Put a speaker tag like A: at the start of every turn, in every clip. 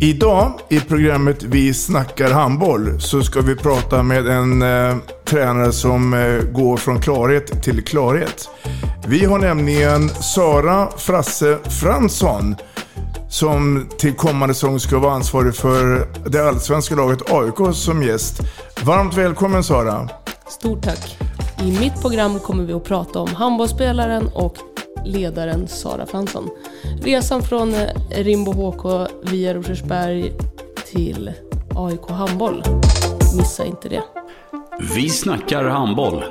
A: Idag i programmet Vi snackar handboll så ska vi prata med en eh, tränare som eh, går från klarhet till klarhet. Vi har nämligen Sara Frasse Fransson som till kommande säsong ska vara ansvarig för det allsvenska laget AIK som gäst. Varmt välkommen Sara!
B: Stort tack! I mitt program kommer vi att prata om handbollsspelaren och ledaren Sara Fransson. Resan från eh, Rimbo HK via Rosersberg till AIK Handboll. Missa inte det.
C: Vi snackar handboll.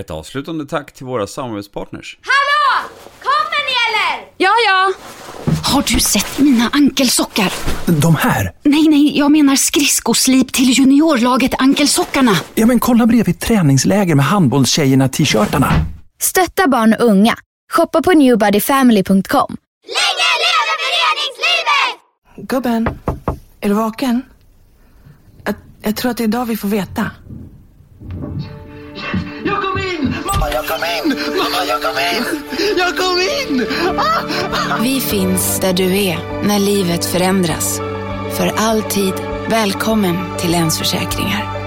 C: Ett avslutande tack till våra samarbetspartners.
D: Hallå! Kommer ni eller?
E: Ja, ja. Har du sett mina ankelsockar?
F: De här?
E: Nej, nej, jag menar skridskoslip till juniorlaget Ankelsockarna.
F: Ja, men kolla bredvid träningsläger med handbollstjejerna-t-shirtarna.
G: Stötta barn och unga. Shoppa på newbodyfamily.com.
D: Länge leve föreningslivet!
H: Gubben, är du vaken? Jag, jag tror att det är idag vi får veta.
I: Jag kom in! Mamma, jag kom in! Mamma, jag kom in! Jag kom in! Ah!
E: Vi finns där du är när livet förändras. För alltid välkommen till Länsförsäkringar.